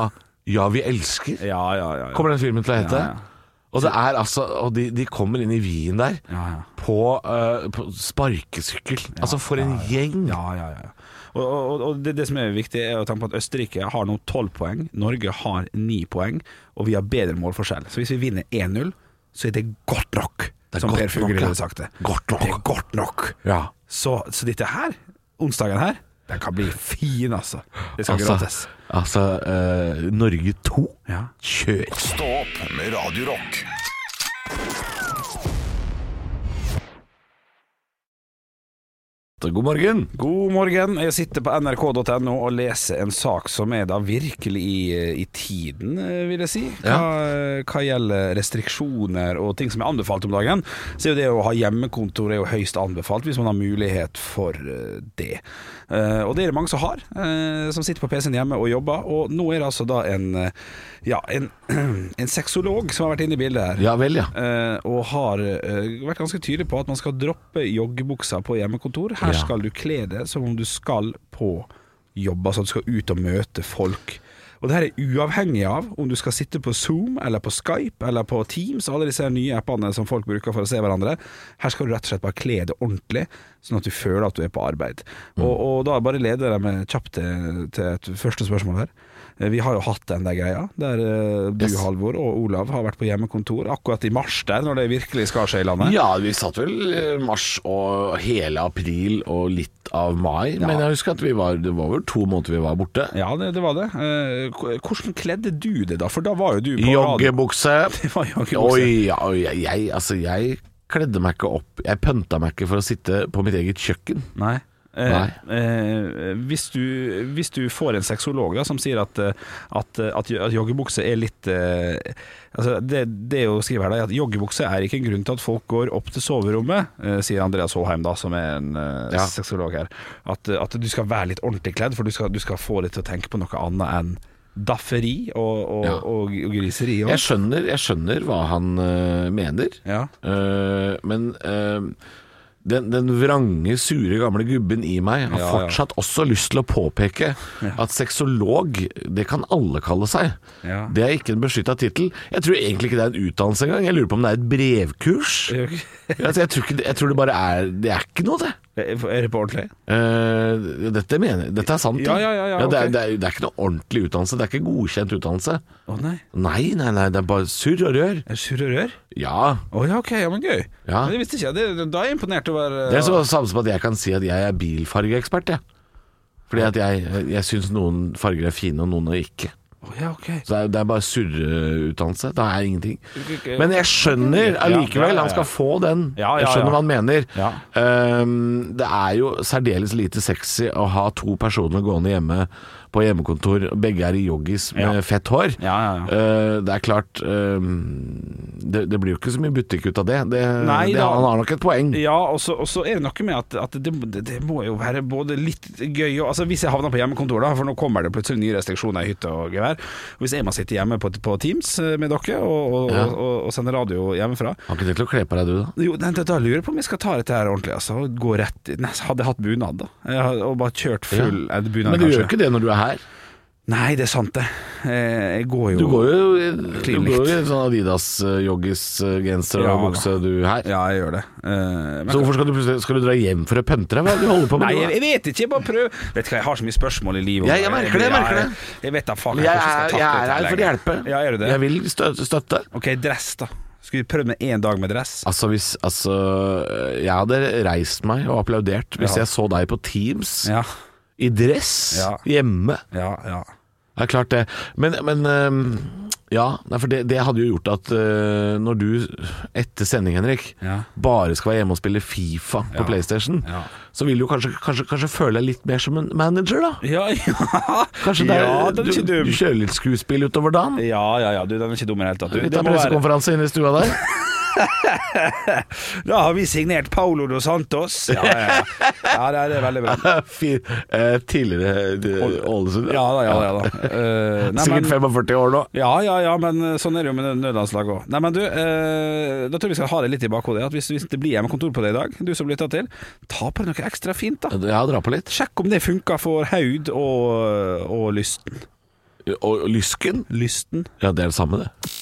[SPEAKER 3] ja, vi elsker
[SPEAKER 2] Ja, ja, ja. ja.
[SPEAKER 3] Kommer den filmen til å hete
[SPEAKER 2] Ja, ja.
[SPEAKER 3] Og det er altså Og de, de kommer inn i Wien der
[SPEAKER 2] Ja, ja.
[SPEAKER 3] På, eh, på sparkesykkel Altså for en gjeng
[SPEAKER 2] Ja, ja, ja. Og, og, og det, det som er viktig, er å tenke på at Østerrike har nå tolv poeng, Norge har ni poeng, og vi har bedre målforskjell. Så hvis vi vinner 1-0, så er det godt nok,
[SPEAKER 3] Det er
[SPEAKER 2] som
[SPEAKER 3] godt
[SPEAKER 2] Per Fugli
[SPEAKER 3] nok, ja.
[SPEAKER 2] ville sagt det.
[SPEAKER 3] Godt nok.
[SPEAKER 2] Det er godt nok.
[SPEAKER 3] Ja.
[SPEAKER 2] Så, så dette her, onsdagen her, den kan bli fin, altså. Det skal
[SPEAKER 3] Altså,
[SPEAKER 2] gråtes.
[SPEAKER 3] altså eh, Norge 2
[SPEAKER 2] Ja.
[SPEAKER 3] Kjør
[SPEAKER 1] Stå opp med Radio Rock.
[SPEAKER 3] God morgen
[SPEAKER 2] God morgen. Jeg sitter på nrk.no og leser en sak som er da virkelig i, i tiden, eh, vil jeg si. Hva, eh, hva gjelder restriksjoner og ting som er anbefalt om dagen, så er jo det å ha hjemmekontor er jo høyst anbefalt hvis man har mulighet for eh, det. Eh, Og det er det mange som har, eh, som sitter på PC-en hjemme og jobber. Og nå er det altså da en, eh, ja, en, [CLEARS THROAT] en sexolog som har vært inne i bildet her.
[SPEAKER 3] Ja vel ja
[SPEAKER 2] Eh, og har eh, vært ganske tydelig på at man skal droppe joggebuksa på hjemmekontor. Her
[SPEAKER 3] Ja.
[SPEAKER 2] skal du kle deg som om du skal på jobb, altså at du skal ut og møte folk. Og det her er uavhengig av om du skal sitte på Zoom eller på Skype eller på Teams, alle disse her nye appene som folk bruker for å se hverandre. Her skal du rett og slett bare kle deg ordentlig, sånn at du føler at du er på arbeid. Og, og da bare leder jeg meg kjapt til, til et første spørsmål her. Eh, Vi har jo hatt den der greia, der eh, du,
[SPEAKER 3] Yes.
[SPEAKER 2] Halvor og Olav har vært på hjemmekontor akkurat i mars der, når det virkelig skal skje i landet.
[SPEAKER 3] ja, vi satt vel eh, mars og hele april og litt av mai Men jeg husker at vi var, det var vel to måneder vi var borte
[SPEAKER 2] Ja, det, det var det. Eh, k- Hvordan kledde du deg da? For da var jo du på radio.
[SPEAKER 3] Joggebukse
[SPEAKER 2] [LAUGHS] Det var joggebukse.
[SPEAKER 3] Oi, ja, og jeg, jeg, altså, jeg kledde meg ikke opp. Jeg pønta meg ikke for å sitte på mitt eget kjøkken.
[SPEAKER 2] Nei. Eh,
[SPEAKER 3] Nei.
[SPEAKER 2] Eh, hvis, du, hvis du får en sexolog da, som sier at, eh, at, eh, at, jo- at joggebukse er litt eh, altså det, det er jo å skrive her da, at joggebukse er ikke en grunn til at folk går opp til soverommet, eh, sier Andreas Håheim, da, som er en eh,
[SPEAKER 3] Ja.
[SPEAKER 2] sexolog her. At, eh, at du skal være litt ordentlig kledd, for du skal, du skal få det til å tenke på noe annet enn dafferi og, og,
[SPEAKER 3] Ja.
[SPEAKER 2] og, og griseri. Og.
[SPEAKER 3] Jeg skjønner, jeg skjønner hva han øh, mener,
[SPEAKER 2] Ja.
[SPEAKER 3] Øh, men øh, den, den vrange, sure gamle gubben i meg har
[SPEAKER 2] Ja, ja.
[SPEAKER 3] fortsatt også lyst til å påpeke at sexolog, det kan alle kalle seg.
[SPEAKER 2] Ja.
[SPEAKER 3] Det er ikke en beskytta tittel. Jeg tror egentlig ikke det er en utdannelse engang. Jeg lurer på om det er et brevkurs.
[SPEAKER 2] Er det ikke-
[SPEAKER 3] jeg, jeg, tror ikke, det- jeg tror det bare er Det er ikke noe, det.
[SPEAKER 2] Er det på ordentlig?
[SPEAKER 3] Eh, dette, mener, dette er sant.
[SPEAKER 2] Ja, ja, ja, ja,
[SPEAKER 3] det, er,
[SPEAKER 2] ok.
[SPEAKER 3] det, er, det er ikke noe ordentlig utdannelse. Det er ikke godkjent utdannelse.
[SPEAKER 2] Å nei.
[SPEAKER 3] Nei, nei, nei, det er bare surr og rør.
[SPEAKER 2] Er det surre rør?
[SPEAKER 3] Ja.
[SPEAKER 2] Å ja, ok, ja, men gøy.
[SPEAKER 3] Ja.
[SPEAKER 2] Men det visste ikke jeg. Det, da er jeg imponert over eh,
[SPEAKER 3] Det er så samme som at jeg kan si at jeg er bilfargeekspert, jeg. Fordi at jeg, jeg syns noen farger er fine, og noen er ikke.
[SPEAKER 2] Å, ja, ok.
[SPEAKER 3] Så det er, det er bare surreutdannelse. Det er ingenting. Men jeg skjønner
[SPEAKER 2] Ja, ja,
[SPEAKER 3] allikevel.
[SPEAKER 2] ja.
[SPEAKER 3] Han skal få den.
[SPEAKER 2] Ja, ja,
[SPEAKER 3] Jeg skjønner
[SPEAKER 2] ja.
[SPEAKER 3] hva han mener.
[SPEAKER 2] Ja.
[SPEAKER 3] Ehm, det er jo særdeles lite sexy å ha to personer gående hjemme på hjemmekontor. Begge er i joggis med
[SPEAKER 2] Ja.
[SPEAKER 3] fett hår.
[SPEAKER 2] Ja, ja, ja.
[SPEAKER 3] Ehm, det er klart ehm, det, det blir jo ikke så mye butikk ut av det. det,
[SPEAKER 2] Nei
[SPEAKER 3] det
[SPEAKER 2] da.
[SPEAKER 3] han har nok et poeng.
[SPEAKER 2] Ja, og så og så er det noe med at, at det, det- det må jo være både litt gøy og altså Hvis jeg havner på hjemmekontor, da, for nå kommer det plutselig nye restriksjoner i hytte og gevær Hvis jeg må sitte hjemme på, på Teams eh, med dere og, og,
[SPEAKER 3] Ja.
[SPEAKER 2] og, og, og sende radio hjemmefra
[SPEAKER 3] Har ikke tenkt å kle på deg, du, da?
[SPEAKER 2] jo, da, da lurer jeg på om jeg skal ta dette her ordentlig. Altså. og Gå rett i- Nei, Hadde jeg hatt bunad, da? Jeg hadde- Og bare kjørt full eh, bunad,
[SPEAKER 3] Men du gjør jo ikke det når du er her.
[SPEAKER 2] Nei, det er sant, det. Eh, Jeg går jo
[SPEAKER 3] Du går jo i, du
[SPEAKER 2] Clean
[SPEAKER 3] går jo
[SPEAKER 2] likt.
[SPEAKER 3] i sånn Adidas-joggis-genser
[SPEAKER 2] Ja,
[SPEAKER 3] eh, og
[SPEAKER 2] da.
[SPEAKER 3] bukse, du her.
[SPEAKER 2] Ja, jeg gjør det. Eh, men-
[SPEAKER 3] Så hvorfor skal du plutselig Skal du dra hjem for å pønte deg? Hva er det du holder på med?
[SPEAKER 2] Nei,
[SPEAKER 3] nå,
[SPEAKER 2] jeg,
[SPEAKER 3] da?
[SPEAKER 2] jeg vet ikke. Jeg bare prøver. Vet du hva, jeg har så mye spørsmål i livet.
[SPEAKER 3] Ja, jeg merker det, jeg merker det.
[SPEAKER 2] Ja, Jeg, jeg vet da faen
[SPEAKER 3] jeg, er, jeg er her for å hjelpe.
[SPEAKER 2] Ja, er du det?
[SPEAKER 3] Jeg vil stø- støtte.
[SPEAKER 2] Ok, dress, da. Skulle vi prøvd med én dag med dress?
[SPEAKER 3] Altså, hvis Altså, jeg hadde reist meg og applaudert hvis
[SPEAKER 2] Ja.
[SPEAKER 3] jeg så deg på Teams
[SPEAKER 2] Ja.
[SPEAKER 3] i dress
[SPEAKER 2] Ja.
[SPEAKER 3] hjemme.
[SPEAKER 2] Ja, ja.
[SPEAKER 3] Det er klart, det. Men, men øhm, Ja, nei, for det, det hadde jo gjort at øh, når du etter sending, Henrik,
[SPEAKER 2] Ja.
[SPEAKER 3] bare skal være hjemme og spille Fifa på
[SPEAKER 2] Ja.
[SPEAKER 3] PlayStation,
[SPEAKER 2] Ja.
[SPEAKER 3] så vil du kanskje, kanskje, kanskje føle deg litt mer som en manager, da.
[SPEAKER 2] Ja, ja.
[SPEAKER 3] Kanskje det er,
[SPEAKER 2] ja, den er
[SPEAKER 3] du,
[SPEAKER 2] ikke dum.
[SPEAKER 3] du kjører litt skuespill utover dagen?
[SPEAKER 2] Ja, ja, ja. Du, den er ikke dum i det hele tatt. Du,
[SPEAKER 3] Litt
[SPEAKER 2] det
[SPEAKER 3] av
[SPEAKER 2] må være-
[SPEAKER 3] pressekonferanse inne i stua der?
[SPEAKER 2] Da har vi signert Paulo dos Santos. Ja, ja, ja. ja det, er, det er veldig bra.
[SPEAKER 3] [LAUGHS] Fy- eh, Tidligere eh, Ålesund?
[SPEAKER 2] Ja da, ja da. Ja, da. Eh, nei,
[SPEAKER 3] Sikkert
[SPEAKER 2] men-
[SPEAKER 3] 45 år nå.
[SPEAKER 2] Ja, ja, ja, men eh, sånn er det jo med nødlandslaget òg. Nei, men du, eh, da tror jeg vi skal ha det litt i bakhodet. At hvis, hvis det blir hjemmekontor på deg i dag, du som lytter til, ta på deg noe ekstra fint, da.
[SPEAKER 3] Ja, dra på litt.
[SPEAKER 2] Sjekk om det funker for haud og, og lysten.
[SPEAKER 3] Og Lysken?
[SPEAKER 2] Lysten?
[SPEAKER 3] Ja, det er det samme, det.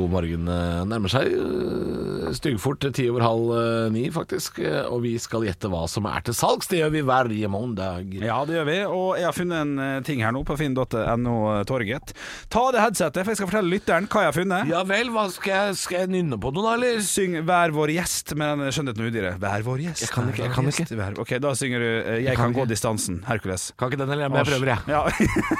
[SPEAKER 3] God morgen eh, nærmer seg eh, styggfort ti over halv eh, ni, faktisk. eh, Og vi skal gjette hva som er til salgs. Det gjør vi hver mandag.
[SPEAKER 2] Ja, det gjør vi. Og jeg har funnet en eh, ting her nå på finn.no eh, Torget. Ta det headsetet, for jeg skal fortelle lytteren hva jeg har funnet.
[SPEAKER 3] Ja vel, hva skal jeg, skal jeg nynne på noe da, eller?
[SPEAKER 2] Syng 'Vær vår gjest' med den skjønnheten og udyret. Vær vår gjest.
[SPEAKER 3] Jeg kan ikke,
[SPEAKER 2] vær
[SPEAKER 3] jeg
[SPEAKER 2] vår
[SPEAKER 3] kan
[SPEAKER 2] gjest,
[SPEAKER 3] ikke.
[SPEAKER 2] vær- Ok, da synger du eh, 'Jeg,
[SPEAKER 3] kan
[SPEAKER 2] kan, gå
[SPEAKER 3] ikke.
[SPEAKER 2] distansen'. Hercules.
[SPEAKER 3] Kan ikke den heller, men jeg prøver, jeg.
[SPEAKER 2] Ja.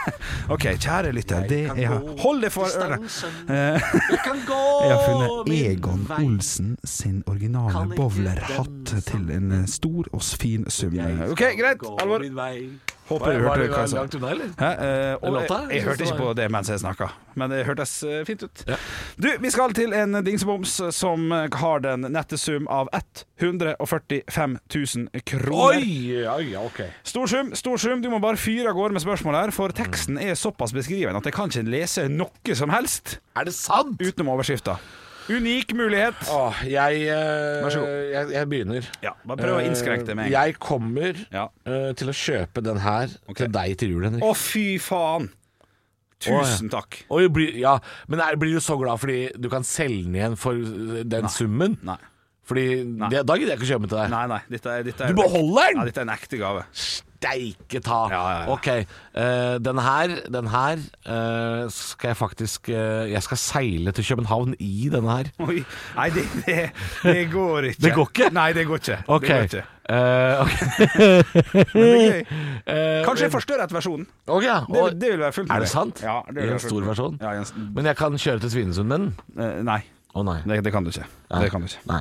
[SPEAKER 2] [LAUGHS] ok, kjære lytter. Det
[SPEAKER 3] kan
[SPEAKER 2] er
[SPEAKER 3] gå
[SPEAKER 2] Hold deg for øret.
[SPEAKER 3] Eh, [LAUGHS] Jeg kan gå
[SPEAKER 2] Jeg har funnet
[SPEAKER 3] min
[SPEAKER 2] Egon
[SPEAKER 3] vei.
[SPEAKER 2] Olsen sin originale
[SPEAKER 3] Kan ikke
[SPEAKER 2] bowlerhatt
[SPEAKER 3] den
[SPEAKER 2] til en eh, stor og fin sum. Eh,
[SPEAKER 3] Jeg skal
[SPEAKER 2] Ok, greit.
[SPEAKER 3] gå
[SPEAKER 2] Alvor.
[SPEAKER 3] min vei.
[SPEAKER 2] Håper du
[SPEAKER 3] Var-
[SPEAKER 2] hørte
[SPEAKER 3] var-
[SPEAKER 2] hva
[SPEAKER 3] var
[SPEAKER 2] jeg
[SPEAKER 3] langt
[SPEAKER 2] sa.
[SPEAKER 3] unna, eller?
[SPEAKER 2] Hæ? Eh, og
[SPEAKER 3] Låta?
[SPEAKER 2] jeg, jeg hørte ikke på det mens jeg snakka, men det hørtes eh, fint ut.
[SPEAKER 3] Ja.
[SPEAKER 2] Du, vi skal til en dingseboms som eh, har den nette sum av 145 000 kroner.
[SPEAKER 3] Oi, oi, ok.
[SPEAKER 2] Stor sum, stor sum. Du må bare fyre av gårde med spørsmål her, for teksten er såpass beskrivende at jeg kan ikke lese noe som helst
[SPEAKER 3] Er det sant?
[SPEAKER 2] utenom overskrifta. Unik mulighet.
[SPEAKER 3] Åh, jeg, eh,
[SPEAKER 2] Vær så god.
[SPEAKER 3] jeg, jeg begynner. Eh,
[SPEAKER 2] Ja, bare prøv å innskrenke det med en gang.
[SPEAKER 3] Jeg kommer
[SPEAKER 2] Ja.
[SPEAKER 3] eh, til å kjøpe den her til deg til jul, Henrik.
[SPEAKER 2] Å, fy faen! Tusen takk.
[SPEAKER 3] Oi, blir, ja, men er, blir du så glad fordi du kan selge den igjen for eh, den summen?
[SPEAKER 2] Nei,
[SPEAKER 3] Fordi det, Da gidder jeg ikke å kjøpe den til deg.
[SPEAKER 2] nei, nei dette er, dette er
[SPEAKER 3] Du beholder
[SPEAKER 2] Ja,
[SPEAKER 3] den?!
[SPEAKER 2] dette er en ekte gave.
[SPEAKER 3] Steike ta!
[SPEAKER 2] Ja, ja, ja.
[SPEAKER 3] Ok, eh, den her, den her eh, skal jeg faktisk eh, Jeg skal seile til København i denne her.
[SPEAKER 2] Oi. Nei, det, det, det går ikke.
[SPEAKER 3] Det går ikke?
[SPEAKER 2] Nei, det går ikke.
[SPEAKER 3] Ok.
[SPEAKER 2] Det går ikke.
[SPEAKER 3] Eh, ok.
[SPEAKER 2] [LAUGHS] Men det er gøy.
[SPEAKER 3] Eh,
[SPEAKER 2] Kanskje jeg forstørret versjonen.
[SPEAKER 3] ok, ja.
[SPEAKER 2] Det,
[SPEAKER 3] Og-
[SPEAKER 2] det vil være fullt
[SPEAKER 3] Er
[SPEAKER 2] mulig.
[SPEAKER 3] det sant?
[SPEAKER 2] Ja, det vil
[SPEAKER 3] I en
[SPEAKER 2] være fullt
[SPEAKER 3] stor
[SPEAKER 2] mulig.
[SPEAKER 3] versjon?
[SPEAKER 2] Ja, i en, s-
[SPEAKER 3] Men jeg kan kjøre til Svinesund med den?
[SPEAKER 2] eh, nei,
[SPEAKER 3] Å nei.
[SPEAKER 2] det, det kan du ikke.
[SPEAKER 3] nei.
[SPEAKER 2] Det kan du ikke.
[SPEAKER 3] Nei.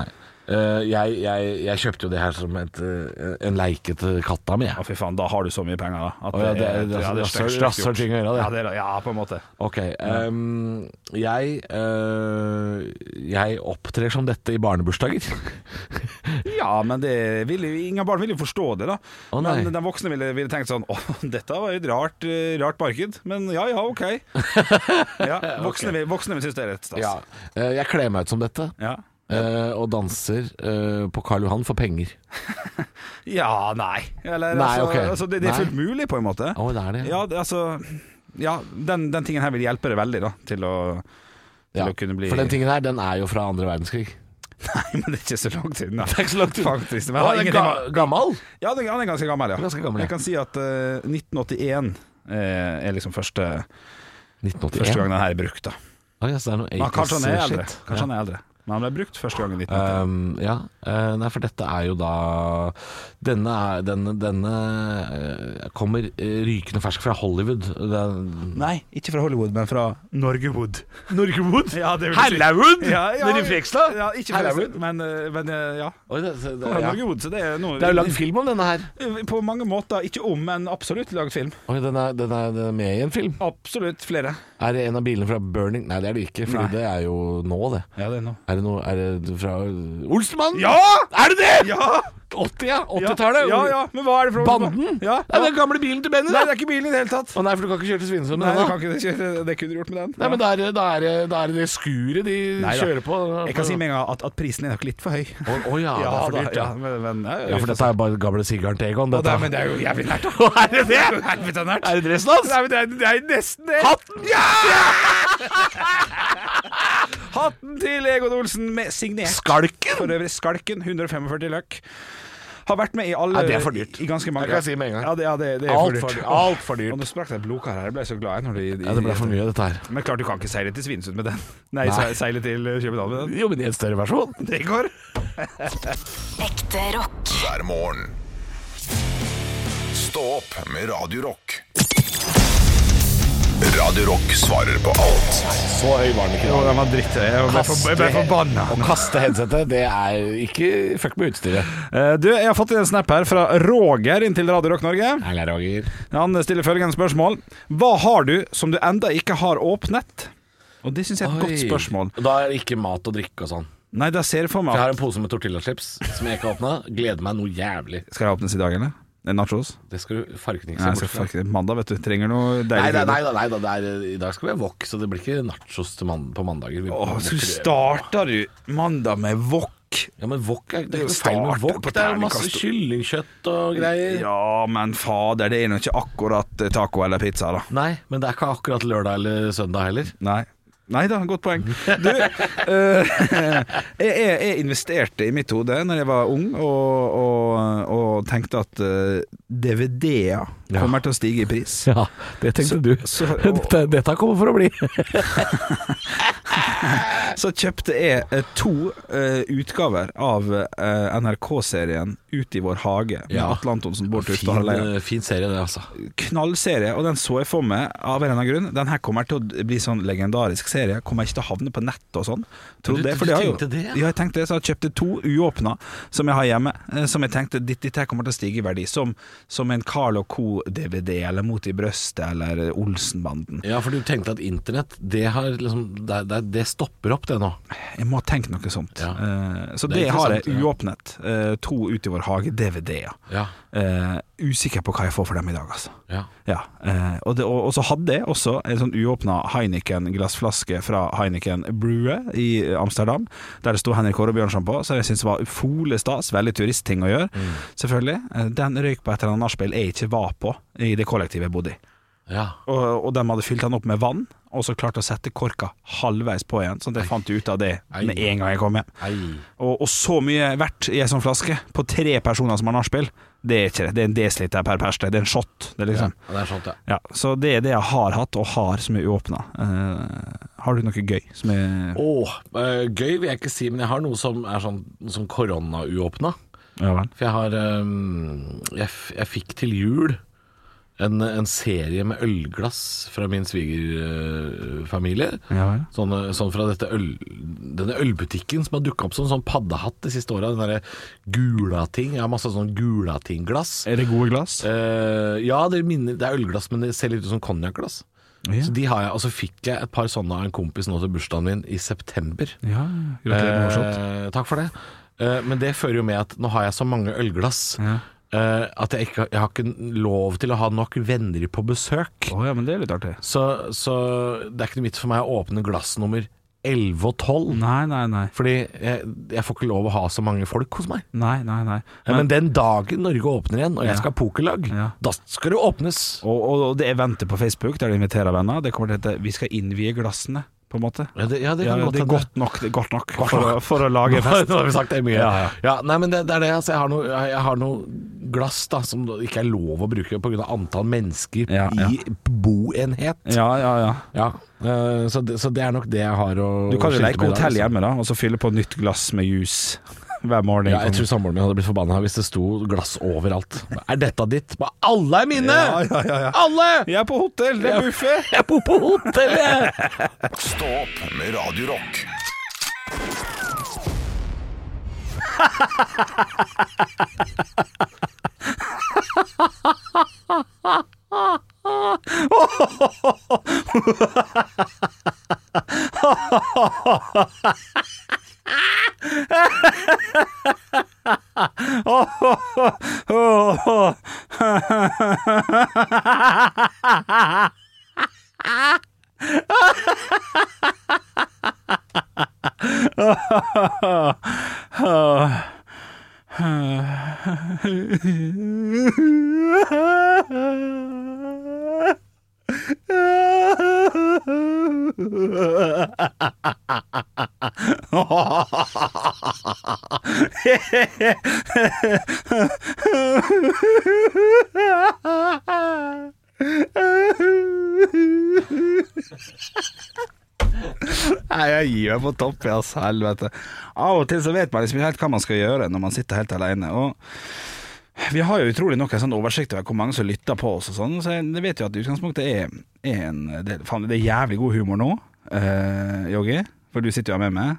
[SPEAKER 3] nei. Eh, jeg, jeg, jeg kjøpte jo det her som et, eh, en leike til katta mi.
[SPEAKER 2] Å,
[SPEAKER 3] jeg.
[SPEAKER 2] fy faen, da har du så mye penger, da. At
[SPEAKER 3] Å, ja, det er-
[SPEAKER 2] er-
[SPEAKER 3] det er-
[SPEAKER 2] ja,
[SPEAKER 3] det er
[SPEAKER 2] stygt-
[SPEAKER 3] så-
[SPEAKER 2] stygt
[SPEAKER 3] rasshøl
[SPEAKER 2] gjort.
[SPEAKER 3] ting å gjøre, det.
[SPEAKER 2] Ja, det er, ja, på en måte.
[SPEAKER 3] Ok. ehm, jeg, eh, jeg opptrer som dette i barnebursdager.
[SPEAKER 2] Ja, men det vil, jo- ingen barn vil jo forstå det, da.
[SPEAKER 3] Å, nei.
[SPEAKER 2] men de voksne ville, ville tenkt sånn Å, [LAUGHS] dette var jo et rart, eh, rart marked. Men ja ja, OK.
[SPEAKER 3] [LAUGHS]
[SPEAKER 2] Ja, voksne, vil- voksne vil synes det er rett stas.
[SPEAKER 3] Eh, jeg kler meg ut som dette.
[SPEAKER 2] Ja.
[SPEAKER 3] eh, og danser eh, på Karl Johan for penger.
[SPEAKER 2] Ja, nei. Eller,
[SPEAKER 3] Nei,
[SPEAKER 2] altså,
[SPEAKER 3] ok.
[SPEAKER 2] altså, det, det er
[SPEAKER 3] Nei.
[SPEAKER 2] fullt mulig, på en måte.
[SPEAKER 3] Å, det er det.
[SPEAKER 2] Ja, det, altså Ja, den, den tingen her vil hjelpe deg veldig, da, til å [LAUGHS] til
[SPEAKER 3] Ja,
[SPEAKER 2] å kunne bli
[SPEAKER 3] For den tingen her, den er jo fra andre verdenskrig.
[SPEAKER 2] Nei, men det er ikke så langt siden, da.
[SPEAKER 3] Det er ikke så langt siden.
[SPEAKER 2] Faktisk. Men jeg har
[SPEAKER 3] Å, den er
[SPEAKER 2] ingenting med-
[SPEAKER 3] ga gammel?
[SPEAKER 2] Ja, den, han er ganske gammel, ja.
[SPEAKER 3] Ganske gammel, ja.
[SPEAKER 2] Jeg kan si at eh, 1981 eh, er liksom første,
[SPEAKER 3] 1981.
[SPEAKER 2] første gang den her er brukt, da.
[SPEAKER 3] Å, ja, så det er noe
[SPEAKER 2] Men kanskje han er
[SPEAKER 3] 80s
[SPEAKER 2] eldre.
[SPEAKER 3] shit.
[SPEAKER 2] Kanskje han er eldre. Men han ble brukt første gangen i 1990.
[SPEAKER 3] Um, ja, eh, nei, for dette er jo da Denne, er, denne, denne eh, kommer eh, rykende fersk fra Hollywood. Den-
[SPEAKER 2] Nei, ikke fra Hollywood, men fra Norgewood.
[SPEAKER 3] [LAUGHS] Norgewood?
[SPEAKER 2] Ja, det vil si-
[SPEAKER 3] Herlaud? Nede i Frekstad?
[SPEAKER 2] Ja, ikke fra
[SPEAKER 3] Herlaud?
[SPEAKER 2] men, eh, men eh, ja.
[SPEAKER 3] Oi, det, det, det,
[SPEAKER 2] Fra
[SPEAKER 3] ja.
[SPEAKER 2] Norgewood, så det er noe Eh,
[SPEAKER 3] det er jo lagd film om denne her.
[SPEAKER 2] På mange måter ikke om, men absolutt lagd film.
[SPEAKER 3] Oi, den er, den, er, den er med i en film.
[SPEAKER 2] Absolutt flere.
[SPEAKER 3] Er det en av bilene fra Burning Nei, det er det ikke, for
[SPEAKER 2] Nei.
[SPEAKER 3] det er jo nå, det.
[SPEAKER 2] Ja, det er noe.
[SPEAKER 3] Er det noe Er det fra Olsenmannen?
[SPEAKER 2] Ja!
[SPEAKER 3] Er det det?!
[SPEAKER 2] Ja!
[SPEAKER 3] 80, ja.
[SPEAKER 2] Ja,
[SPEAKER 3] 80-tallet.
[SPEAKER 2] Ja, ja, men hva er det for
[SPEAKER 3] Banden?
[SPEAKER 2] Ja,
[SPEAKER 3] Nei,
[SPEAKER 2] ja.
[SPEAKER 3] den gamle bilen til Benny,
[SPEAKER 2] Nei, det
[SPEAKER 3] da.
[SPEAKER 2] er ikke bilen i det hele tatt.
[SPEAKER 3] Å nei, for du kan ikke kjøre til Svinesund
[SPEAKER 2] Nei,
[SPEAKER 3] med
[SPEAKER 2] det,
[SPEAKER 3] den, da.
[SPEAKER 2] kan ikke, det, det kunne du gjort med den.
[SPEAKER 3] Nei, men da er det- da er det- da er det det skuret de
[SPEAKER 2] Nei da.
[SPEAKER 3] kjører på.
[SPEAKER 2] Jeg kan si med en gang at, at prisen er nok litt for høy.
[SPEAKER 3] Å å ja, det er for
[SPEAKER 2] da,
[SPEAKER 3] dyrt, ja.
[SPEAKER 2] ja. Men, men, ja,
[SPEAKER 3] Ja, for dette er bare gamle sigaren til Egon,
[SPEAKER 2] Og det,
[SPEAKER 3] dette.
[SPEAKER 2] er- men det er jo jævlig nært,
[SPEAKER 3] [LAUGHS]
[SPEAKER 2] da.
[SPEAKER 3] Er det det?
[SPEAKER 2] Helvete nært.
[SPEAKER 3] Er det dressen hans?
[SPEAKER 2] Nei, men det er, det er nesten det.
[SPEAKER 3] Hatten!
[SPEAKER 2] Hatten til Egon Olsen, med signert for
[SPEAKER 3] Skalken!
[SPEAKER 2] øvrig Skalken, 145 løk. Har vært med i alle
[SPEAKER 3] Nei, det er for dyrt.
[SPEAKER 2] I ganske mange
[SPEAKER 3] Det kan jeg si med en gang.
[SPEAKER 2] Ja, det, ja, det, det er
[SPEAKER 3] Alt
[SPEAKER 2] for dyrt.
[SPEAKER 3] for dyrt. Alt for dyrt.
[SPEAKER 2] Og nå sprakk det et blodkar her. Jeg ble så glad jeg når de, de
[SPEAKER 3] Ja, det ble for mye, dette her.
[SPEAKER 2] Men klart du kan ikke seile til Svinesund med den. Nei,
[SPEAKER 3] Nei.
[SPEAKER 2] se- seile til eh, København med den.
[SPEAKER 3] Jo, men i en større versjon.
[SPEAKER 2] Det går.
[SPEAKER 6] Ekte rock.
[SPEAKER 1] hver morgen. Stå opp med Radio Rock. Radio Rock svarer på alt
[SPEAKER 3] Så høy var den ikke.
[SPEAKER 2] Jo, den var dritthøy. Jeg ble for- jeg ble forbanna.
[SPEAKER 3] Å kaste headsetet, det er ikke Fuck med utstyret.
[SPEAKER 2] Eh, Du, jeg har fått en snap her fra Roger inntil Radio Rock Norge.
[SPEAKER 3] Nei, Roger.
[SPEAKER 2] Han stiller følgende spørsmål. Hva har du som du enda ikke har åpnet? Og det syns jeg er et godt spørsmål.
[SPEAKER 3] Da er det ikke mat og drikke og sånn.
[SPEAKER 2] Nei, da ser jeg for meg
[SPEAKER 3] Jeg
[SPEAKER 2] at
[SPEAKER 3] har en pose med tortillachips som jeg ikke har åpna. Gleder meg noe jævlig.
[SPEAKER 2] Skal jeg åpnes i dag, eller? En nachos?
[SPEAKER 3] Det skal du fargenikse
[SPEAKER 2] Nei, jeg
[SPEAKER 3] bort
[SPEAKER 2] skal
[SPEAKER 3] fra.
[SPEAKER 2] faktisk Mandag, vet du. Trenger noe
[SPEAKER 3] Nei,
[SPEAKER 2] deilig
[SPEAKER 3] nei, nei, da, nei, da, det er, i dag skal vi ha wok, så det blir ikke nachos til mand på mandager. Vi-
[SPEAKER 2] Åh, så
[SPEAKER 3] vi-
[SPEAKER 2] starter du mandag med wok.
[SPEAKER 3] Ja, men wok er, det
[SPEAKER 2] Det
[SPEAKER 3] er
[SPEAKER 2] er jo
[SPEAKER 3] ikke noe feil med
[SPEAKER 2] starten
[SPEAKER 3] wok.
[SPEAKER 2] på
[SPEAKER 3] Det er jo masse
[SPEAKER 2] terningkast.
[SPEAKER 3] kyllingkjøtt og greier.
[SPEAKER 2] Ja, men fader, det er nå ikke akkurat eh, taco eller pizza, da.
[SPEAKER 3] Nei, men det er ikke akkurat lørdag eller søndag heller.
[SPEAKER 2] Nei. Nei da, godt poeng. Du, eh, jeg, jeg, jeg investerte i mitt hode når jeg var ung, og, og, og tenkte at eh, DVD-er
[SPEAKER 3] Ja.
[SPEAKER 2] kommer til å stige i pris.
[SPEAKER 3] Ja, det tenkte du. [LAUGHS]
[SPEAKER 2] Dette-
[SPEAKER 3] kommer for å bli.
[SPEAKER 2] Så kjøpte jeg eh, to eh, utgaver av eh, NRK-serien Ut i vår hage med
[SPEAKER 3] Ja.
[SPEAKER 2] Atle Antonsen, Bård Tufte og
[SPEAKER 3] Fin,
[SPEAKER 2] Harald Eia.
[SPEAKER 3] eh, fin serie, det, altså.
[SPEAKER 2] Knallserie, og den så jeg for meg av en eller annen grunn. Den her kommer til å bli sånn legendarisk serie. Kommer ikke til å havne på nettet og sånn. Trodde
[SPEAKER 3] Du-
[SPEAKER 2] jeg, for
[SPEAKER 3] du
[SPEAKER 2] de har jo-
[SPEAKER 3] tenkte det, ja?
[SPEAKER 2] Ja, jeg tenkte det. Så jeg kjøpte to uåpna som jeg har hjemme, eh, som jeg tenkte ditt, ditt her kommer til å stige i verdi. Som, som en Carl Co.-DVD, eller Mot i brøstet, eller Olsenbanden.
[SPEAKER 3] Ja, for du tenkte at internett, det, har liksom, det, det, det stopper opp det nå.
[SPEAKER 2] Jeg må ha tenkt noe sånt.
[SPEAKER 3] Ja.
[SPEAKER 2] Eh, så
[SPEAKER 3] Det er
[SPEAKER 2] det, har jeg
[SPEAKER 3] interessant, ja.
[SPEAKER 2] uåpnet. Eh, to Ut i vår hage DVD-er.
[SPEAKER 3] Ja,
[SPEAKER 2] Eh, usikker på hva jeg får for dem i dag, altså.
[SPEAKER 3] ja.
[SPEAKER 2] Ja, eh, og, det, og, og så hadde jeg også en sånn uåpna Heineken-glassflaske fra Heineken Brue i Amsterdam, der det sto Henrik Kåre Bjørnson på, som jeg syntes var ufolig stas. Veldig turistting å gjøre, selvfølgelig. Eh, Den røyk på et eller annet nachspiel jeg ikke var på i det kollektivet jeg bodde i.
[SPEAKER 3] ja.
[SPEAKER 2] Og, og de hadde fylt den opp med vann, og så klarte å sette korka halvveis på igjen, sånn at jeg fant ut av det med en gang jeg kom hjem.
[SPEAKER 3] Ei.
[SPEAKER 2] Og, og så mye verdt i ei sånn flaske, på tre personer som har nachspiel, det er ikke det. Det er en desiliter per perste, det er en shot, det er
[SPEAKER 3] Ja,
[SPEAKER 2] liksom.
[SPEAKER 3] det er sånt, ja.
[SPEAKER 2] Ja, så det er det jeg har hatt og har som er uåpna. Eh, har du noe gøy som er
[SPEAKER 3] Åh, eh, gøy vil jeg ikke si, men jeg har noe som er sånn som koronauåpna.
[SPEAKER 2] Ja vel.
[SPEAKER 3] For jeg har ehm, jeg, f jeg fikk til jul en, en serie med ølglass fra min svigerfamilie.
[SPEAKER 2] Ja vel.
[SPEAKER 3] Sånn, sånn fra dette øl, denne ølbutikken som har dukka opp som sånn paddehatt de siste åra. Den derre gulating. Jeg har masse sånn gulatingglass.
[SPEAKER 2] Er det gode glass?
[SPEAKER 3] Eh, ja, det, minner, det er ølglass, men det ser litt ut som konjakkglass.
[SPEAKER 2] Ja.
[SPEAKER 3] Så de har jeg, og så fikk jeg et par sånne av en kompis nå til bursdagen min i september.
[SPEAKER 2] Ja, gratulerer med overskudd.
[SPEAKER 3] Eh, takk for det. Eh, men det fører jo med at nå har jeg så mange ølglass
[SPEAKER 2] Ja.
[SPEAKER 3] eh, at jeg, ikke, har- jeg har ikke lov til å ha nok venner på besøk.
[SPEAKER 2] Eh, Å ja, men det er litt artig.
[SPEAKER 3] Så, så det er ikke noe vits for meg å åpne glass nummer 11 og 12.
[SPEAKER 2] Nei, nei, nei.
[SPEAKER 3] Fordi jeg, jeg får ikke lov å ha så mange folk hos meg.
[SPEAKER 2] Nei, nei, nei.
[SPEAKER 3] Men, den dagen Norge åpner igjen, og jeg skal ha pokerlag,
[SPEAKER 2] Ja.
[SPEAKER 3] da skal det åpnes.
[SPEAKER 2] Og, og, og det eventet på Facebook der de inviterer venner, det kommer til å hete 'Vi skal innvie glassene', på en måte.
[SPEAKER 3] Ja, det, ja, det
[SPEAKER 2] Ja, det
[SPEAKER 3] kan
[SPEAKER 2] er
[SPEAKER 3] godt hende.
[SPEAKER 2] godt nok, det er godt nok for, å, for å lage
[SPEAKER 3] Nå
[SPEAKER 2] [LAUGHS] fest.
[SPEAKER 3] har vi sagt det mye.
[SPEAKER 2] Ja,
[SPEAKER 3] Ja,
[SPEAKER 2] ja.
[SPEAKER 3] nei, men det, det er det. Altså, jeg har noe, jeg har noe glass da, som det ikke er lov å bruke pga. antall mennesker
[SPEAKER 2] Ja, ja.
[SPEAKER 3] i boenhet.
[SPEAKER 2] Ja, ja, ja.
[SPEAKER 3] Ja, eh, så, det, så det er nok det jeg har å
[SPEAKER 2] Du kan jo
[SPEAKER 3] skilte
[SPEAKER 2] leke
[SPEAKER 3] med i dag,
[SPEAKER 2] hotell
[SPEAKER 3] altså.
[SPEAKER 2] hjemme, da, og så fylle på nytt glass med juice [LAUGHS] hver morgen.
[SPEAKER 3] Ja, jeg tror samboeren min hadde blitt forbanna hvis det sto glass overalt. Er dette ditt? Bare, alle er mine!
[SPEAKER 2] Ja, ja, ja, ja.
[SPEAKER 3] Alle!
[SPEAKER 2] Jeg er på hotell, det er buffé!
[SPEAKER 3] Jeg bor på hotell, jeg!
[SPEAKER 1] Stå opp med Radio Rock.
[SPEAKER 2] Nei, jeg gir meg på topp, jeg, altså. Helvete. Av og til så vet man liksom ikke helt hva man skal gjøre når man sitter helt alene. Og vi har jo utrolig nok en sånn oversikt over hvor mange som lytter på oss og sånn, så jeg vet jo at utgangspunktet er, er en del Faen, det er jævlig god humor nå, eh, Joggi, for du sitter jo her med meg.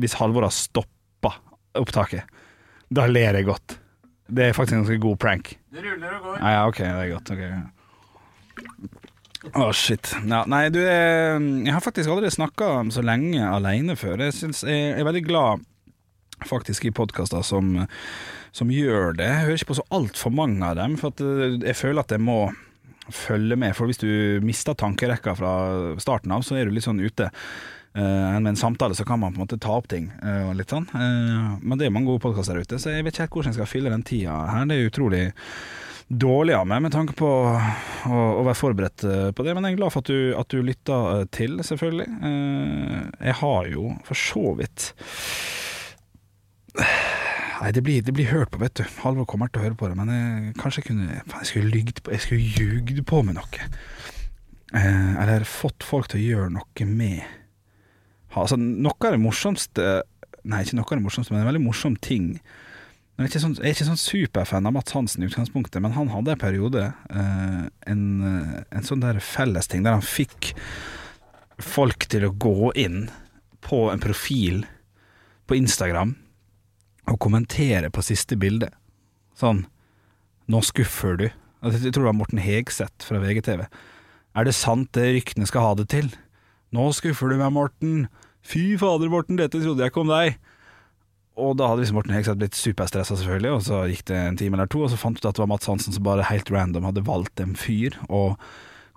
[SPEAKER 2] Hvis Halvor har stoppa opptaket, da ler jeg godt. Det er faktisk en ganske god prank. Det ruller og går. Ja, ok, det er godt. ok, ja. Å, shit. Ja, nei, du, eh, jeg har faktisk aldri snakka så lenge alene før. Jeg, synes, jeg er veldig glad faktisk i podkaster som, som gjør det. Jeg hører ikke på så altfor mange av dem, for at eh, jeg føler at jeg må følge med. For hvis du mister tankerekka fra starten av, så er du litt sånn ute. Eh, med en samtale så kan man på en måte ta opp ting eh, og litt sånn. Eh, men det er mange gode podkaster der ute, så jeg vet ikke helt hvordan jeg skal fylle den tida her. Det er utrolig dårlig av meg med tanke på å, å være forberedt eh, på det, men jeg er glad for at du, at du lytta eh, til, selvfølgelig. Eh, Jeg har jo for så vidt Nei, det blir, det blir hørt på, vet du. Halvor kommer til å høre på det, men jeg, kanskje jeg kunne faen, Jeg skulle lygd på Jeg skulle ljugd på med noe. Eh, Eller fått folk til å gjøre noe med Ha, Altså, noe av det morsomste Nei, ikke noe av det morsomste, men en veldig morsom ting jeg er, ikke sånn, jeg er ikke sånn superfan av Mats Hansen i utgangspunktet, men han hadde en periode eh, en, eh, en sånn der fellesting der han fikk folk til å gå inn på en profil på Instagram og kommentere på siste bilde. Sånn 'Nå skuffer du'. Altså, Jeg tror det var Morten Hegseth fra VGTV. 'Er det sant det ryktene skal ha det til?' 'Nå skuffer du meg, Morten'. 'Fy fader, Morten, dette trodde jeg ikke om deg'. Og da hadde liksom Morten Hegseth blitt superstressa, selvfølgelig, og så gikk det en time eller to, og så fant du ut at det var Mats Hansen som bare helt random hadde valgt en fyr å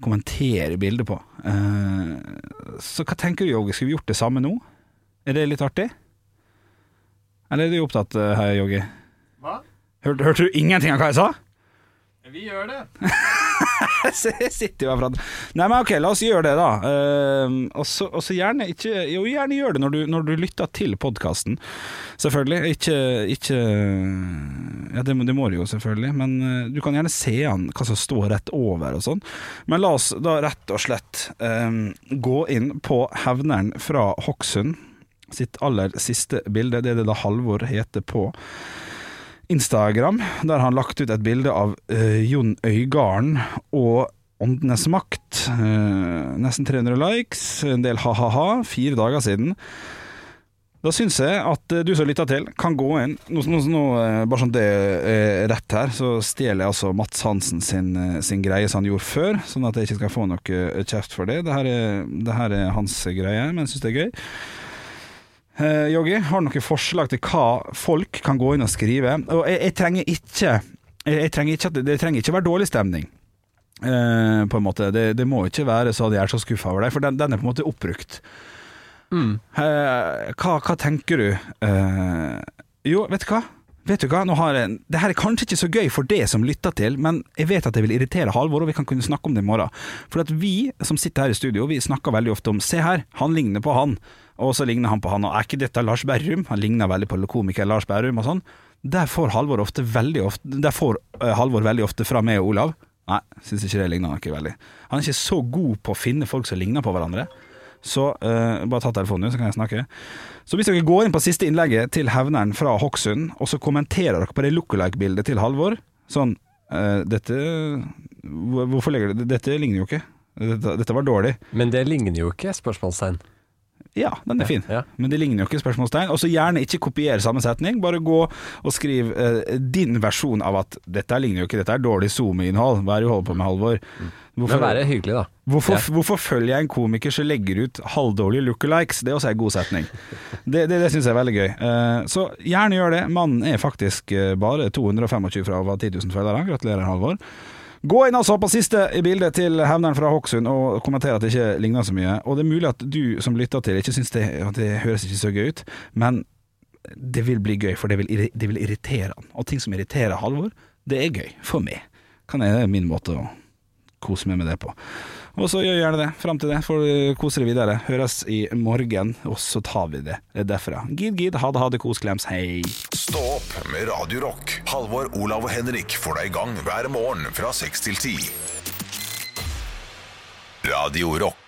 [SPEAKER 2] kommentere bildet på. Eh, så hva tenker du, Joggi, skulle vi gjort det samme nå? Er det litt artig? Eller er du opptatt eh, her, Joggi?
[SPEAKER 7] Hva?
[SPEAKER 2] Hørte, hørte du ingenting av hva jeg sa?
[SPEAKER 7] Vi gjør det.
[SPEAKER 2] Så jeg [LAUGHS] sitter jo herfra Nei, men ok, la oss gjøre det da Ehm, Og så og så gjerne ikke, Jo, gjerne gjør det når du, når du lytter til podcasten Selvfølgelig Ikke, ikke Ja, det, må- det må du jo selvfølgelig Men eh, du kan gjerne se an hva som står rett over og sånn Men la oss da rett og slett ehm, Gå inn på hevneren fra Hokksund Sitt aller siste bilde Det er det da Halvor heter på Instagram, der han lagt ut et bilde av eh, Jon Øygarden og Åndenes makt. Eh, nesten 300 likes, en del ha-ha-ha, fire dager siden. Da syns jeg at eh, du som lytter til, kan gå inn Nå, nå, nå eh, Bare sånn det er rett her, så stjeler jeg altså Mats Hansen sin, eh, sin greie som han gjorde før, sånn at jeg ikke skal få noe eh, kjeft for det. Det her er, det her er hans greie, men jeg syns det er gøy. Eh, Joggi, har du noen forslag til hva folk kan gå inn og skrive? Og jeg, jeg trenger ikke jeg, jeg trenger ikke at, Det trenger ikke være dårlig stemning. Eh, på en måte det, det må ikke være så at jeg er så skuffa over deg, for den, den er på en måte oppbrukt. Eh, hva, hva tenker du? Eh, jo, vet du hva? Vet du hva? Nå har jeg, det her er kanskje ikke så gøy for det som lytter til, men jeg vet at det vil irritere Halvor, og vi kan kunne snakke om det i morgen. For at vi som sitter her i studio, vi snakker veldig ofte om Se her, han ligner på han. og så ligner han på han. Og er ikke dette Lars Berrum? Han ligner veldig på komikeren Lars Berrum og sånn. Der får Halvor ofte veldig ofte Der får eh, Halvor veldig ofte fra meg og Olav. Nei, syns ikke det ligner noe veldig. Han er ikke så god på å finne folk som ligner på hverandre. Så eh, bare ta telefonen, så kan jeg snakke. Så hvis dere går inn på siste innlegget til hevneren fra Hokksund, og så kommenterer dere på det lookalike-bildet til Halvor Sånn eh, Dette hvor- Hvorfor legger du Dette ligner jo ikke. Dette, dette var dårlig.
[SPEAKER 8] Men det ligner jo ikke spørsmålstegn.
[SPEAKER 2] Ja, den er fin.
[SPEAKER 8] ja.
[SPEAKER 2] Men det ligner jo ikke spørsmålstegn. Og så gjerne ikke kopier samme setning. Bare gå og skriv eh, din versjon av at 'dette ligner jo ikke, dette er dårlig SoMe-innhold'. Hva er det du holder på med, Halvor?
[SPEAKER 8] Mm. Men
[SPEAKER 2] Hvorfor,
[SPEAKER 8] være hyggelig, da.
[SPEAKER 2] hvorfor, hvorfor følger jeg en komiker som legger ut halvdårlige lookalikes? Det er også en god setning. Det, det, det syns jeg er veldig gøy. Eh, så gjerne gjør det. Mannen er faktisk eh, bare 225 fra over 10 000 følgere. Gratulerer, Halvor. Gå inn altså på siste i bildet til hevneren fra Hokksund og kommenter at det ikke ligner så mye. Og det er mulig at du som lytter til ikke syns det, at det høres ikke så gøy ut, men det vil bli gøy, for det vil, irri- det vil irritere han. Og ting som irriterer Halvor, det er gøy for meg. Kan jeg, det er min måte å kose meg med det på. Og så gjør gjerne det. Fram til det får du kose deg videre. Høres i morgen, og så tar vi det derfra. Gid, gid, ha det, ha det, kos, klems, hei.
[SPEAKER 1] Stå opp med Radio Rock. Halvor, Olav og Henrik får deg i gang hver morgen fra 6 til 10. Radio Rock.